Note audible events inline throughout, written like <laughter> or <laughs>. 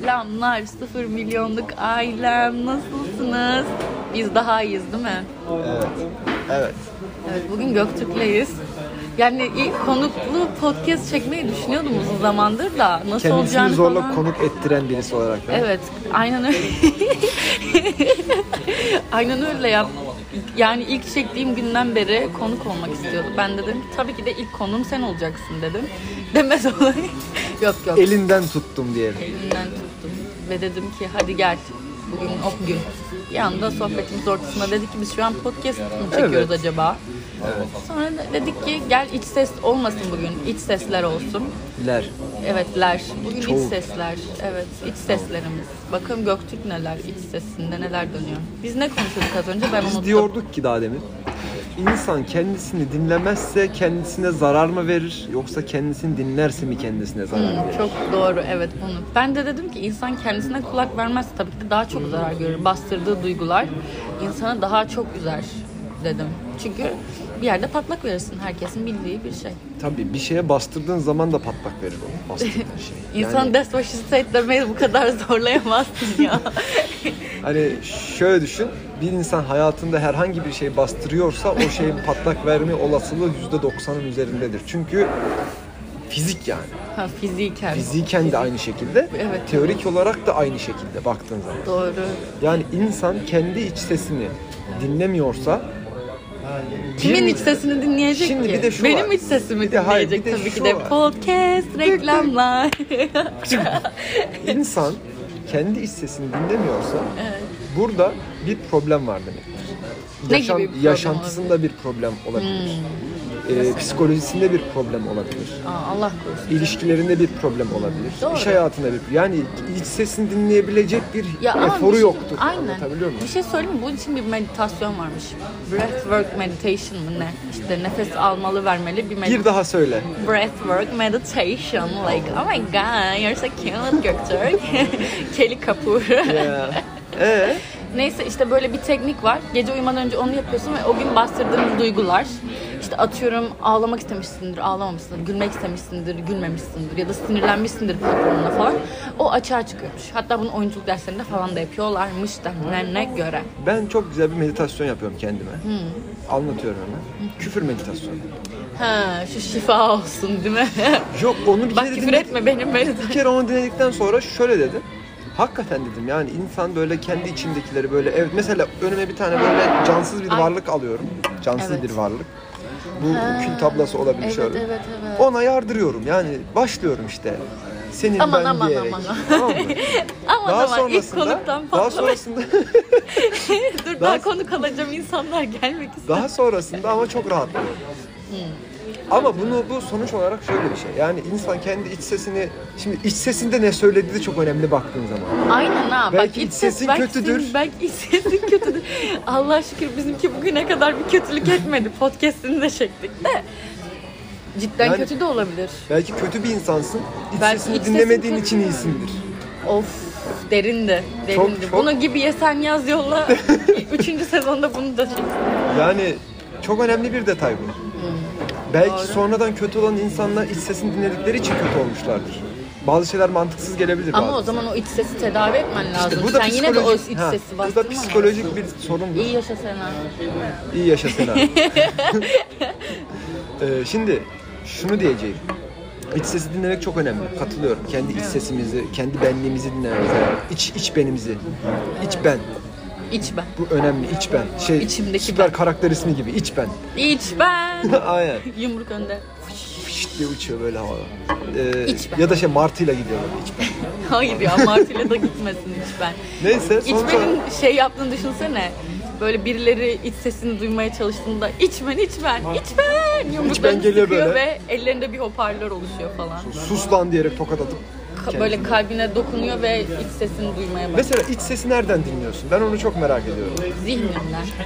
Selamlar 0 milyonluk ailem nasılsınız? Biz daha iyiyiz değil mi? Evet. Evet. Evet bugün Göktürk'leyiz. Yani ilk konuklu podcast çekmeyi düşünüyordum uzun zamandır da nasıl olacağını Kendisini zorla falan- konuk ettiren birisi olarak. da. Evet, aynen öyle. <laughs> aynen öyle ya. Yani ilk çektiğim günden beri konuk olmak istiyordu. Ben dedim ki, tabii ki de ilk konuğum sen olacaksın dedim. Demez olayım. <laughs> yok yok. Elinden tuttum diyelim. Elimden tuttum. Ve dedim ki hadi gel. Bugün o gün. Bir anda sohbetimiz ortasında dedi ki biz şu an podcast mı çekiyoruz Evet. acaba? Sonra da dedik ki gel iç ses olmasın bugün. iç sesler olsun. Ler. Evetler. Bugün Çoğu. iç sesler. Evet, iç seslerimiz. Bakın Göktürk neler, iç sesinde neler dönüyor. Biz ne konuşuyorduk az önce ben unuttum. Biz diyorduk ki daha demin. İnsan kendisini dinlemezse kendisine zarar mı verir yoksa kendisini dinlerse mi kendisine zarar verir? Çok doğru evet bunu. Ben de dedim ki insan kendisine kulak vermezse tabii ki de daha çok zarar görür. Bastırdığı duygular insana daha çok üzer dedim. Çünkü bir yerde patlak verirsin herkesin bildiği bir şey. Tabii bir şeye bastırdığın zaman da patlak verir o <laughs> bastırdığın şey. İnsan Yani death wish state demeyi bu kadar <laughs> zorlayamazsın ya. hani şöyle düşün. Bir insan hayatında herhangi bir şey bastırıyorsa o <laughs> şeyin patlak verme olasılığı %90'ın üzerindedir. Çünkü fizik yani. ha, fiziken. Fiziken de aynı şekilde, Evet. teorik olarak da aynı şekilde baktığın zaman. Doğru. Yani insan kendi iç sesini <laughs> dinlemiyorsa Kimin bir- iç sesini dinleyecek Şimdi ki? bir de şu Benim var. iç sesimi Bir de dinleyecek hayır, bir de tabii ki şu de. var. Podcast, reklamlar. <laughs> insan kendi iç sesini dinlemiyorsa burada bir problem var demek. Ne gibi bir problem Hmm. yaşantısında bir problem olabilir. Ee, psikolojisinde bir problem olabilir. Aa, Allah korusun. İlişkilerinde bir problem olabilir. Doğru. İş hayatında bir yani iç sesini dinleyebilecek bir ama eforu bir şey- yoktur. Aynen. Anlatabiliyor muyum? Bir şey söyleyeyim mi? Bunun için bir meditasyon varmış. Breathwork meditation mı ne? İşte nefes almalı vermeli bir Bir meditasyon. <laughs> daha söyle. Breathwork meditation. Like, oh my god, you're so cute Göktürk. <laughs> Kelly Kapoor. Ya. Ee? Neyse işte böyle bir teknik var. Gece uyumadan önce onu yapıyorsun ve o gün bastırdığın duygular. işte atıyorum ağlamak istemişsindir, ağlamamışsındır, gülmek istemişsindir, gülmemişsindir ya da sinirlenmişsindir patronuna falan. O açığa çıkıyormuş. Hatta bunu oyunculuk derslerinde falan da yapıyorlarmış denilenine göre. Ben çok güzel bir meditasyon yapıyorum kendime. Hmm. Anlatıyorum hemen. Küfür meditasyonu. Ha şu şifa olsun değil mi? Yok onu <laughs> bir şey Bak kere küfür dinledim. etme benim böyle. Bir kere onu dinledikten sonra şöyle dedim. Hakikaten dedim yani insan böyle kendi içindekileri böyle evet mesela önüme bir tane böyle cansız bir Ay. varlık alıyorum. Cansız Evet. bir varlık. Bu kül tablası olabilir evet, şöyle. evet, evet. Ona yardırıyorum yani başlıyorum işte. Senin Aman, ben aman, diyerek. aman. <laughs> <laughs> Tamam mı? Ama daha daha ilk sonrasında konuktan daha patlama. sonrasında <laughs> Dur daha, daha- konuk alacağım insanlar gelmek istiyor. Daha sonrasında ama çok rahatlıyorum. Hmm. Ama bunu bu sonuç olarak şöyle bir şey. Yani insan kendi iç sesini şimdi iç sesinde ne söylediği de çok önemli baktığın zaman. Aynen ha. Belki bak, iç sesin belki kötüdür. senin- belki iç sesin kötüdür. <laughs> Allah şükür bizimki bugüne kadar bir kötülük etmedi. Podcast'ini de çektik de. Cidden Yani- kötü de olabilir. Belki kötü bir insansın. İç Belki sesini iç sesin dinlemediğin kötü için yani. iyisindir. Of derindi. Derindi. çok- Bunu gibi yesen yaz <laughs> yolla. Üçüncü sezonda bunu da çek. Yani çok önemli bir detay bu. Belki sonradan kötü olan insanlar iç sesini dinledikleri için kötü olmuşlardır. Bazı şeyler mantıksız gelebilir Ama bazı o zaman o iç sesi tedavi etmen lazım. İşte bu da Sen yine de o iç psikolojik- sesi ha, bastırma. Bu da psikolojik bir sorun. bu. İyi yaşa Sena. İyi yaşa Sena. <laughs> Ee, şimdi şunu diyeceğim. İç sesi dinlemek çok önemli. Katılıyorum. Kendi iç sesimizi, kendi benliğimizi dinlememiz lazım. İç, iç benimizi. İç ben. İç ben. Bu önemli. İç ben. Şey, İçimdeki süper ben. karakter ismi gibi. İç ben. İç ben. <laughs> Aynen. Yumruk önde. Fişt diye uçuyor böyle havada. Ee, İç ben. Ya da şey martıyla gidiyor böyle iç ben. Hayır ya Martı'yla da gitmesin iç ben. Neyse sonuç olarak- İçmenin şey yaptığını düşünsene. Böyle birileri iç sesini duymaya çalıştığında içmen içmen içmen yumruklarını geliyor sıkıyor böyle. ve ellerinde bir hoparlör oluşuyor falan. sus lan diyerek tokat atıp Ka- böyle kalbine dokunuyor ve iç sesini duymaya başlıyor. Mesela iç sesi nereden dinliyorsun? Ben onu çok merak ediyorum. Zihnimden.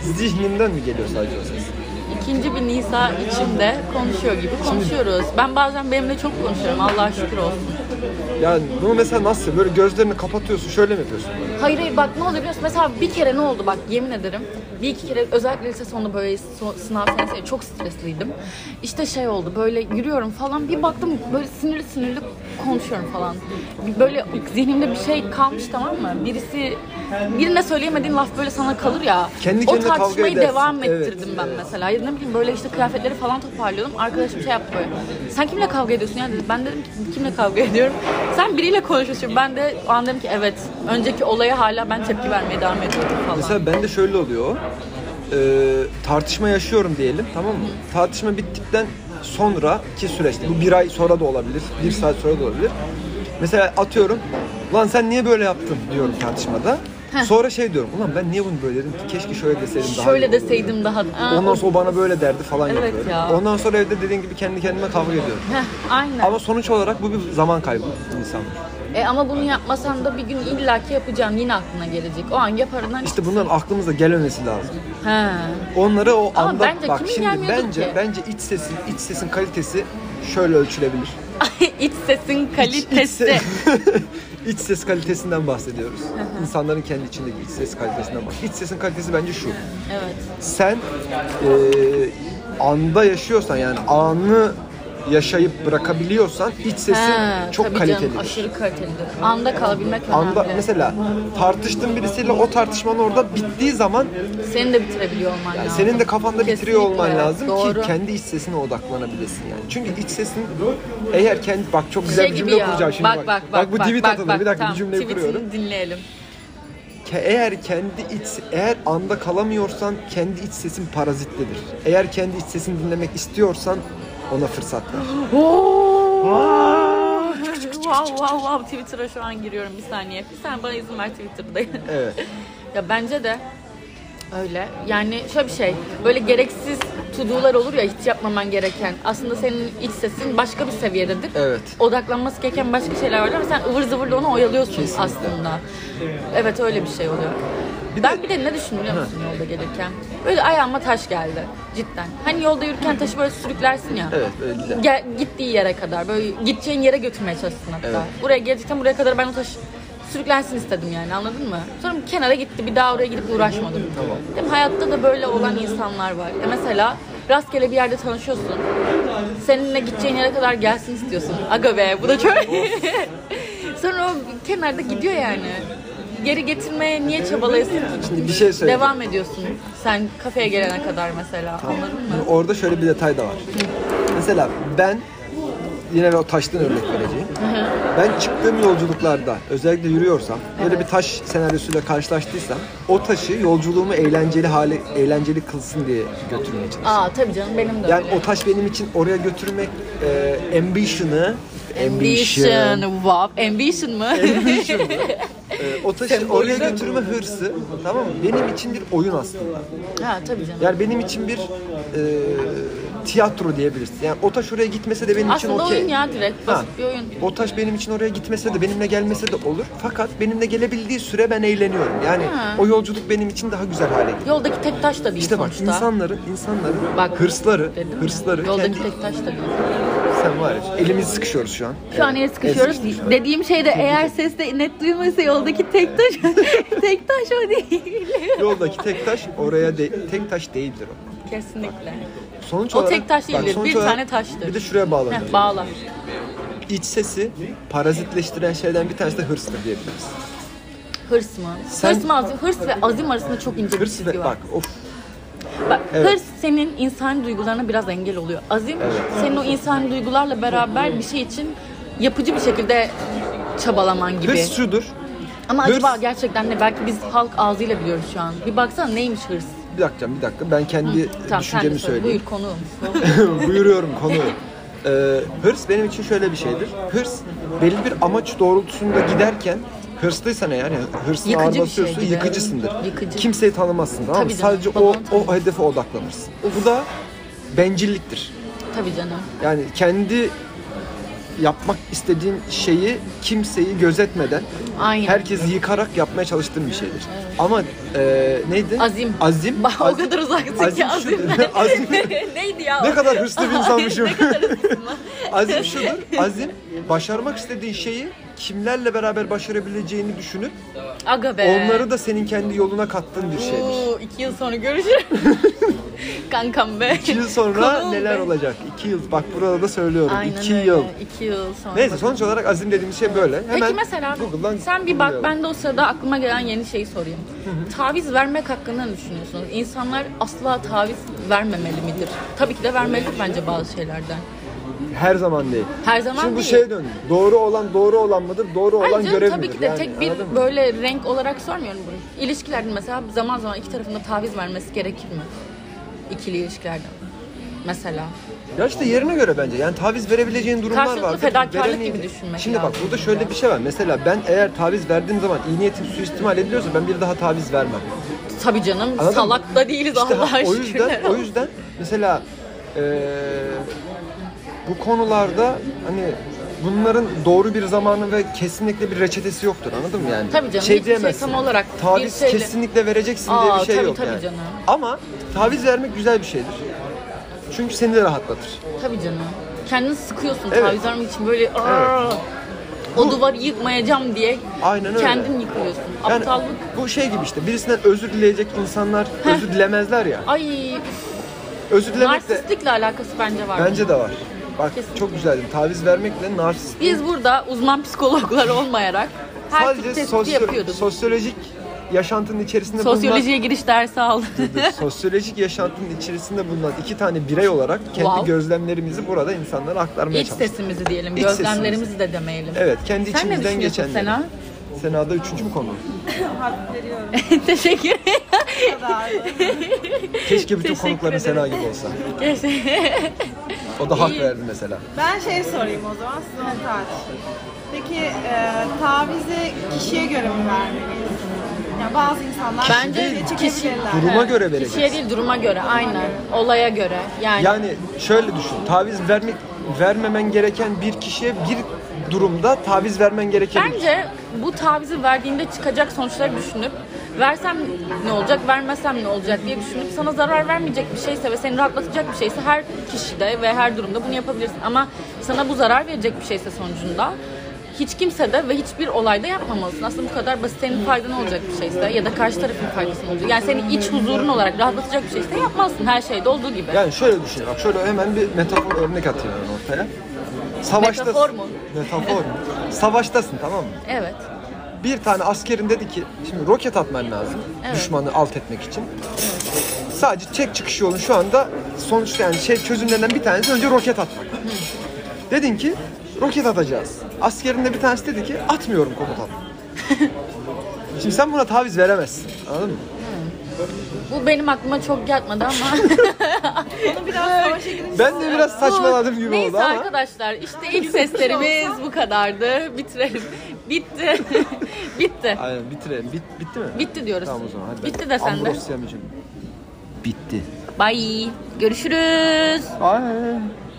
Zihninden mi geliyor sadece o ses? İkinci bir Nisa içimde konuşuyor gibi konuşuyoruz. Ben bazen benimle çok konuşuyorum Allah'a şükür olsun. Yani bunu mesela nasıl? Böyle gözlerini kapatıyorsun, şöyle mi yapıyorsun? böyle? Hayır hayır bak ne oluyor biliyor musun? Mesela bir kere ne oldu bak yemin ederim. Bir iki kere özellikle lise sonunda böyle so- sınav senesi çok stresliydim. İşte şey oldu böyle yürüyorum falan bir baktım böyle sinirli sinirli konuşuyorum falan. Böyle zihnimde bir şey kalmış tamam mı? Birisi birine söyleyemediğin laf böyle sana kalır ya. Kendi o kendine kavga tartışmayı edersin. devam Evet. ettirdim ben mesela. Ya da ne bileyim böyle işte kıyafetleri falan toparlıyordum. Arkadaşım şey yaptı böyle. Sen kimle kavga ediyorsun ya dedi. Ben dedim ki kimle kavga ediyorum. Sen biriyle konuşuyorsun. Ben de o an dedim ki evet. Önceki olaya hala ben tepki vermeye devam ediyorum falan. Mesela bende şöyle oluyor. Ee, tartışma yaşıyorum diyelim tamam mı? Tartışma bittikten sonraki süreçte bu bir ay sonra da olabilir, bir saat sonra da olabilir. Mesela atıyorum lan sen niye böyle yaptın diyorum tartışmada. Sonra şey diyorum ulan ben niye bunu böyle dedim ki keşke şöyle deseydim daha iyi Şöyle olurdu." deseydim daha... Aa, Ondan sonra o bana böyle derdi falan Evet yapıyorum. ya. Ondan sonra evde dediğin gibi kendi kendime kavga ediyorum. Heh, aynen. Ama sonuç olarak bu bir zaman kaybı insan. E, ama bunu yapmasan da bir gün illaki yapacağım. Yine aklına gelecek. O an yaparından... <laughs> İşte bunların aklımıza gelmemesi lazım. He. Onları o Ama anda bence bak kimin şimdi gelmiyordur bence ki? bence iç sesin iç sesin kalitesi şöyle ölçülebilir. İç sesin kalitesi. <laughs> İç, iç ses kalitesinden bahsediyoruz. İnsanların kendi içindeki iç ses kalitesinden bahsediyoruz. İç sesin kalitesi bence şu. Evet. Sen eee, anda yaşıyorsan yani anı yaşayıp bırakabiliyorsan iç sesin He, çok tabii kaliteli. Canım, aşırı kalitelidir. Anda kalabilmek Anda önemli. mesela tartıştın birisiyle o tartışmanın orada bittiği zaman Senin de bitirebiliyor olman Yani lazım. senin de kafanda bitiriyor Kesinlikle, olman lazım doğru. Şey ki kendi iç sesine odaklanabilesin yani. Çünkü iç sesin eğer kendi bak çok güzel Şey bir gibi cümle ya. kuracağım şimdi bak, bak, bak, bu tweet bak, atıldı. bak, bir dakika tamam, bir cümleyi tweetini kuruyorum. dinleyelim. Ke- Eğer kendi iç eğer anda kalamıyorsan kendi iç sesin parazitlidir. Eğer kendi iç sesini dinlemek istiyorsan ona fırsat ver. wow wow wow Twitter'a şu an giriyorum bir saniye. Bir saniye bana izin ver Twitter'da. Evet. Ya bence de öyle. Yani şöyle bir şey. Böyle gereksiz tudular olur ya hiç yapmaman gereken. Aslında senin iç sesin başka bir seviyededir. Evet. Odaklanması gereken başka şeyler vardır ama sen ıvır zıvırla onu oyalıyorsun Kesinlikle. aslında. Evet öyle bir şey oluyor. ben bir de ne düşündüm biliyor musun yolda gelirken? Böyle ayağıma taş geldi cidden. Hani yolda yürürken taşı böyle sürüklersin ya. Evet, öyle gider. Gel, gittiği yere kadar böyle gideceğin yere götürmeye çalışsın hatta. Evet. Buraya gelecekten buraya kadar ben o taş sürüklensin istedim yani anladın mı? Sonra bir kenara gitti bir daha oraya gidip uğraşmadım. Tamam. Değil mi? Hayatta da böyle olan insanlar var. Ya mesela rastgele bir yerde tanışıyorsun. Seninle gideceğin yere kadar gelsin istiyorsun. Aga be bu da çok... <laughs> Sonra o kenarda gidiyor yani. Geri getirmeye niye çabalayasın ki? Şimdi bir şey söyleyeyim. Devam ediyorsun sen kafeye gelene kadar mesela anladın mı? Şimdi orada şöyle bir detay da var. Mesela ben yine o taştan örnek vereceğim. Ben çıktığım yolculuklarda özellikle yürüyorsam böyle bir taş senaryosuyla karşılaştıysam o taşı yolculuğumu eğlenceli hale eğlenceli kılsın diye götürmeye çalışıyorum. Aa tabii canım benim de Yani öyle. o taş benim için oraya götürmek e, ambition'ı Ambition. Wow. Ambition mı? e, o taşı oraya götürme hırsı tamam mı? Benim için bir oyun aslında. ha tabii canım. Yani benim için bir e, tiyatro diyebilirsin. Yani o taş oraya gitmese de benim için Aslında okey. oyun ya direkt. Ha, Basit bir oyun. O taş benim için oraya gitmese de benimle gelmese de olur. Fakat benimle gelebildiği süre ben eğleniyorum. Yani Ha. o yolculuk benim için daha güzel hale geliyor. Yoldaki tek taş da değil İşte bak sonuçta. insanların insanların Bak, hırsları, Dedim ya, hırsları Yoldaki kendi tek taş da değil. sen var ya, elimizi sıkışıyoruz şu an. Şu an el sıkışıyoruz. Dediğim şey de eğer ses de net duyulmuyorsa yoldaki tek taş <laughs> tek taş o değil. Yoldaki tek taş oraya de, tek taş değildir o. Kesinlikle. Sonuç O olarak, tek taş bak, değildir, sonuç bir olarak- tane taştır. Bir de şuraya bağlanıyor. Heh, bağla. İç sesi parazitleştiren şeyden bir tanesi de hırstır diyebiliriz. Hırs mı? Sen- Hırs mı azim? Hırs ve azim arasında çok ince bir Hırs çizgi ve var. bak of Bak Evet. hırs senin insan duygularına biraz engel oluyor. Azim senin o insan duygularla beraber bir şey için yapıcı bir şekilde çabalaman gibi. hırs şudur. Ama hırs- acaba gerçekten ne? Belki biz halk ağzıyla biliyoruz şu an. Bir baksana neymiş hırs? Bir dakika bir dakika ben kendi Tamam sen de düşüncemi söyle. söyleyeyim. Buyur konuğum. <laughs> Buyuruyorum konuyu. Ee, hırs benim için şöyle bir şeydir. Hırs belli bir amaç doğrultusunda giderken hırslıysan eğer yani hırsına Yıkıcı ağır bir şey basıyorsun gibi. yıkıcısındır. Yıkıcı. Kimseyi tanımazsın tamam mı? Tabii canım, Sadece o, babam o hedefe odaklanırsın. Bu da bencilliktir. Tabii canım. Yani kendi yapmak istediğin şeyi kimseyi gözetmeden Aynen. herkesi yıkarak yapmaya çalıştığın bir şeydir. Ama e, neydi? Azim. Azim. Bak, o azim- kadar uzaktı ki azim şu- azim. <laughs> azim. <laughs> Neydi ya? Ne o? kadar <laughs> hırslı bir insanmışım. <laughs> ne kadar hırslı mı? Azim şudur. Azim başarmak istediğin şeyi kimlerle beraber başarabileceğini düşünüp Aga be. onları da senin kendi yoluna kattığın bir şeymiş. Oo, iki yıl sonra <laughs> görüşürüz. Kankam be. İki yıl sonra Konuğum neler be. olacak? İki yıl. Bak burada da söylüyorum. Aynen iki öyle. yıl. İki yıl sonra. Neyse sonuç olarak azim dediğimiz şey böyle. Hemen Peki mesela Google'dan sen bir bak buluyorum. ben de o sırada aklıma gelen yeni şeyi sorayım. Taviz vermek hakkında ne düşünüyorsunuz? İnsanlar asla taviz vermemeli midir? Tabii ki de vermelidir bence bazı şeylerden. Her zaman değil. Her zaman Şimdi bu değil. şeye döndü. Doğru olan doğru olan mıdır? Doğru Hayır olan canım, görev tabii midir? ki de Yani, tek bir anladın mı? böyle renk olarak sormuyorum bunu. İlişkilerde mesela zaman zaman iki tarafında taviz vermesi gerekir mi? İkili ilişkilerde. Mesela. Ya işte yerine göre bence. Yani taviz verebileceğin durumlar Karşılıklı var. fedakarlık Veremeyecek. gibi düşünmek Şimdi bak lazım. burada şöyle bir şey var. Mesela ben eğer taviz verdiğim zaman iyi niyetim suistimal ediliyorsa ben bir daha taviz vermem. Tabii canım Anladın mı? salak da değiliz İşte Allah'a ha, o şükürler yüzden o olsun. yüzden mesela eee, bu konularda hani bunların doğru bir zamanı ve kesinlikle bir reçetesi yoktur anladın mı yani? Tabii canım, hiçbir şey diyemezsin. tam olarak taviz bir şeyle- kesinlikle vereceksin diye Aa, bir şey tabii, yok tabii yani. canım. Ama taviz vermek güzel bir şeydir. Çünkü seni de rahatlatır. Tabii canım. Kendini sıkıyorsun Evet. taviz vermek için böyle "Aa, o duvarı yıkmayacağım diye Aynen öyle. kendin yıkıyorsun. Yani Aptallık. bu şey gibi işte birisinden özür dileyecek insanlar özür dilemezler ya. Ay Özür dilemek de narsistlikle alakası bence var. bence de var. Bak Kesinlikle. çok güzeldim. Taviz vermekle narsist Biz burada uzman psikologlar olmayarak her türlü Sadece tespiti sosyo- yapıyoruz. sosyolojik yaşantının içerisinde Sosyolojiye giriş dersi aldım. bulunan <laughs> sosyolojik yaşantının içerisinde bulunan iki tane birey olarak kendi Wow. gözlemlerimizi burada insanlara aktarmaya <laughs> İç çalıştık. sesimizi diyelim, İç gözlemlerimizi de demeyelim. Evet, kendi Sen ne içimizden düşünüyorsun geçen. Sena? Sena'da üçüncü bu <laughs> konu. Harf veriyorum. <laughs> Teşekkür ederim. Keşke bütün Teşekkür konukların ederim. Sena gibi olsa. Keşke- O da hak İyi. verdi mesela. ben şey sorayım o zaman, siz onu tartışın. Peki e, tavizi kişiye göre mi vermeliyiz? Yani bazı insanlar Bence böyle kişi- çekebilirler. Duruma Evet, göre vereceksin. Kişiye değil, duruma göre. Aynen. Olaya göre. Yani, Yani şöyle düşün. Taviz vermek vermemen gereken bir kişiye bir durumda taviz vermen gerekebilir. Bence bu tavizi verdiğinde çıkacak sonuçları düşünüp versem ne olacak, vermesem ne olacak diye düşünüp sana zarar vermeyecek bir şeyse ve seni rahatlatacak bir şeyse her kişide ve her durumda bunu yapabilirsin. Ama sana bu zarar verecek bir şeyse sonucunda hiç kimse de ve hiçbir olayda yapmamalısın. Aslında bu kadar basit senin faydan olacak bir şeyse ya da karşı tarafın faydasına olacak. Yani senin iç huzurun olarak rahatlatacak bir şeyse yapmazsın her şeyde olduğu gibi. Yani şöyle düşün. Bak şöyle hemen bir metafor örnek atıyorum ortaya. Savaştasın. Metafor mu? Metafor mu? Savaştasın tamam mı? Evet. Bir tane askerin dedi ki şimdi roket atman lazım Evet. düşmanı alt etmek için. Sadece tek çıkış yolun şu anda sonuçta yani şey çözümlerinden bir tanesi önce roket atmak. Dedin ki roket atacağız. Askerin de bir tanesi dedi ki atmıyorum komutan. <laughs> şimdi sen buna taviz veremezsin. Anladın mı? Bu benim aklıma çok yatmadı ama Bunu biraz savaşa girince Ben de biraz saçmaladım gibi Neyse oldu ama. arkadaşlar işte ilk seslerimiz bu kadardı. Bitirelim. <laughs> Bitti. <laughs> Bitti. Aynen bitirelim. Bit, bitti mi? Bitti diyoruz. Tamam o zaman hadi. Bitti de sen de. Ambrosya mıcım? Bitti. Bye. Görüşürüz. Ay.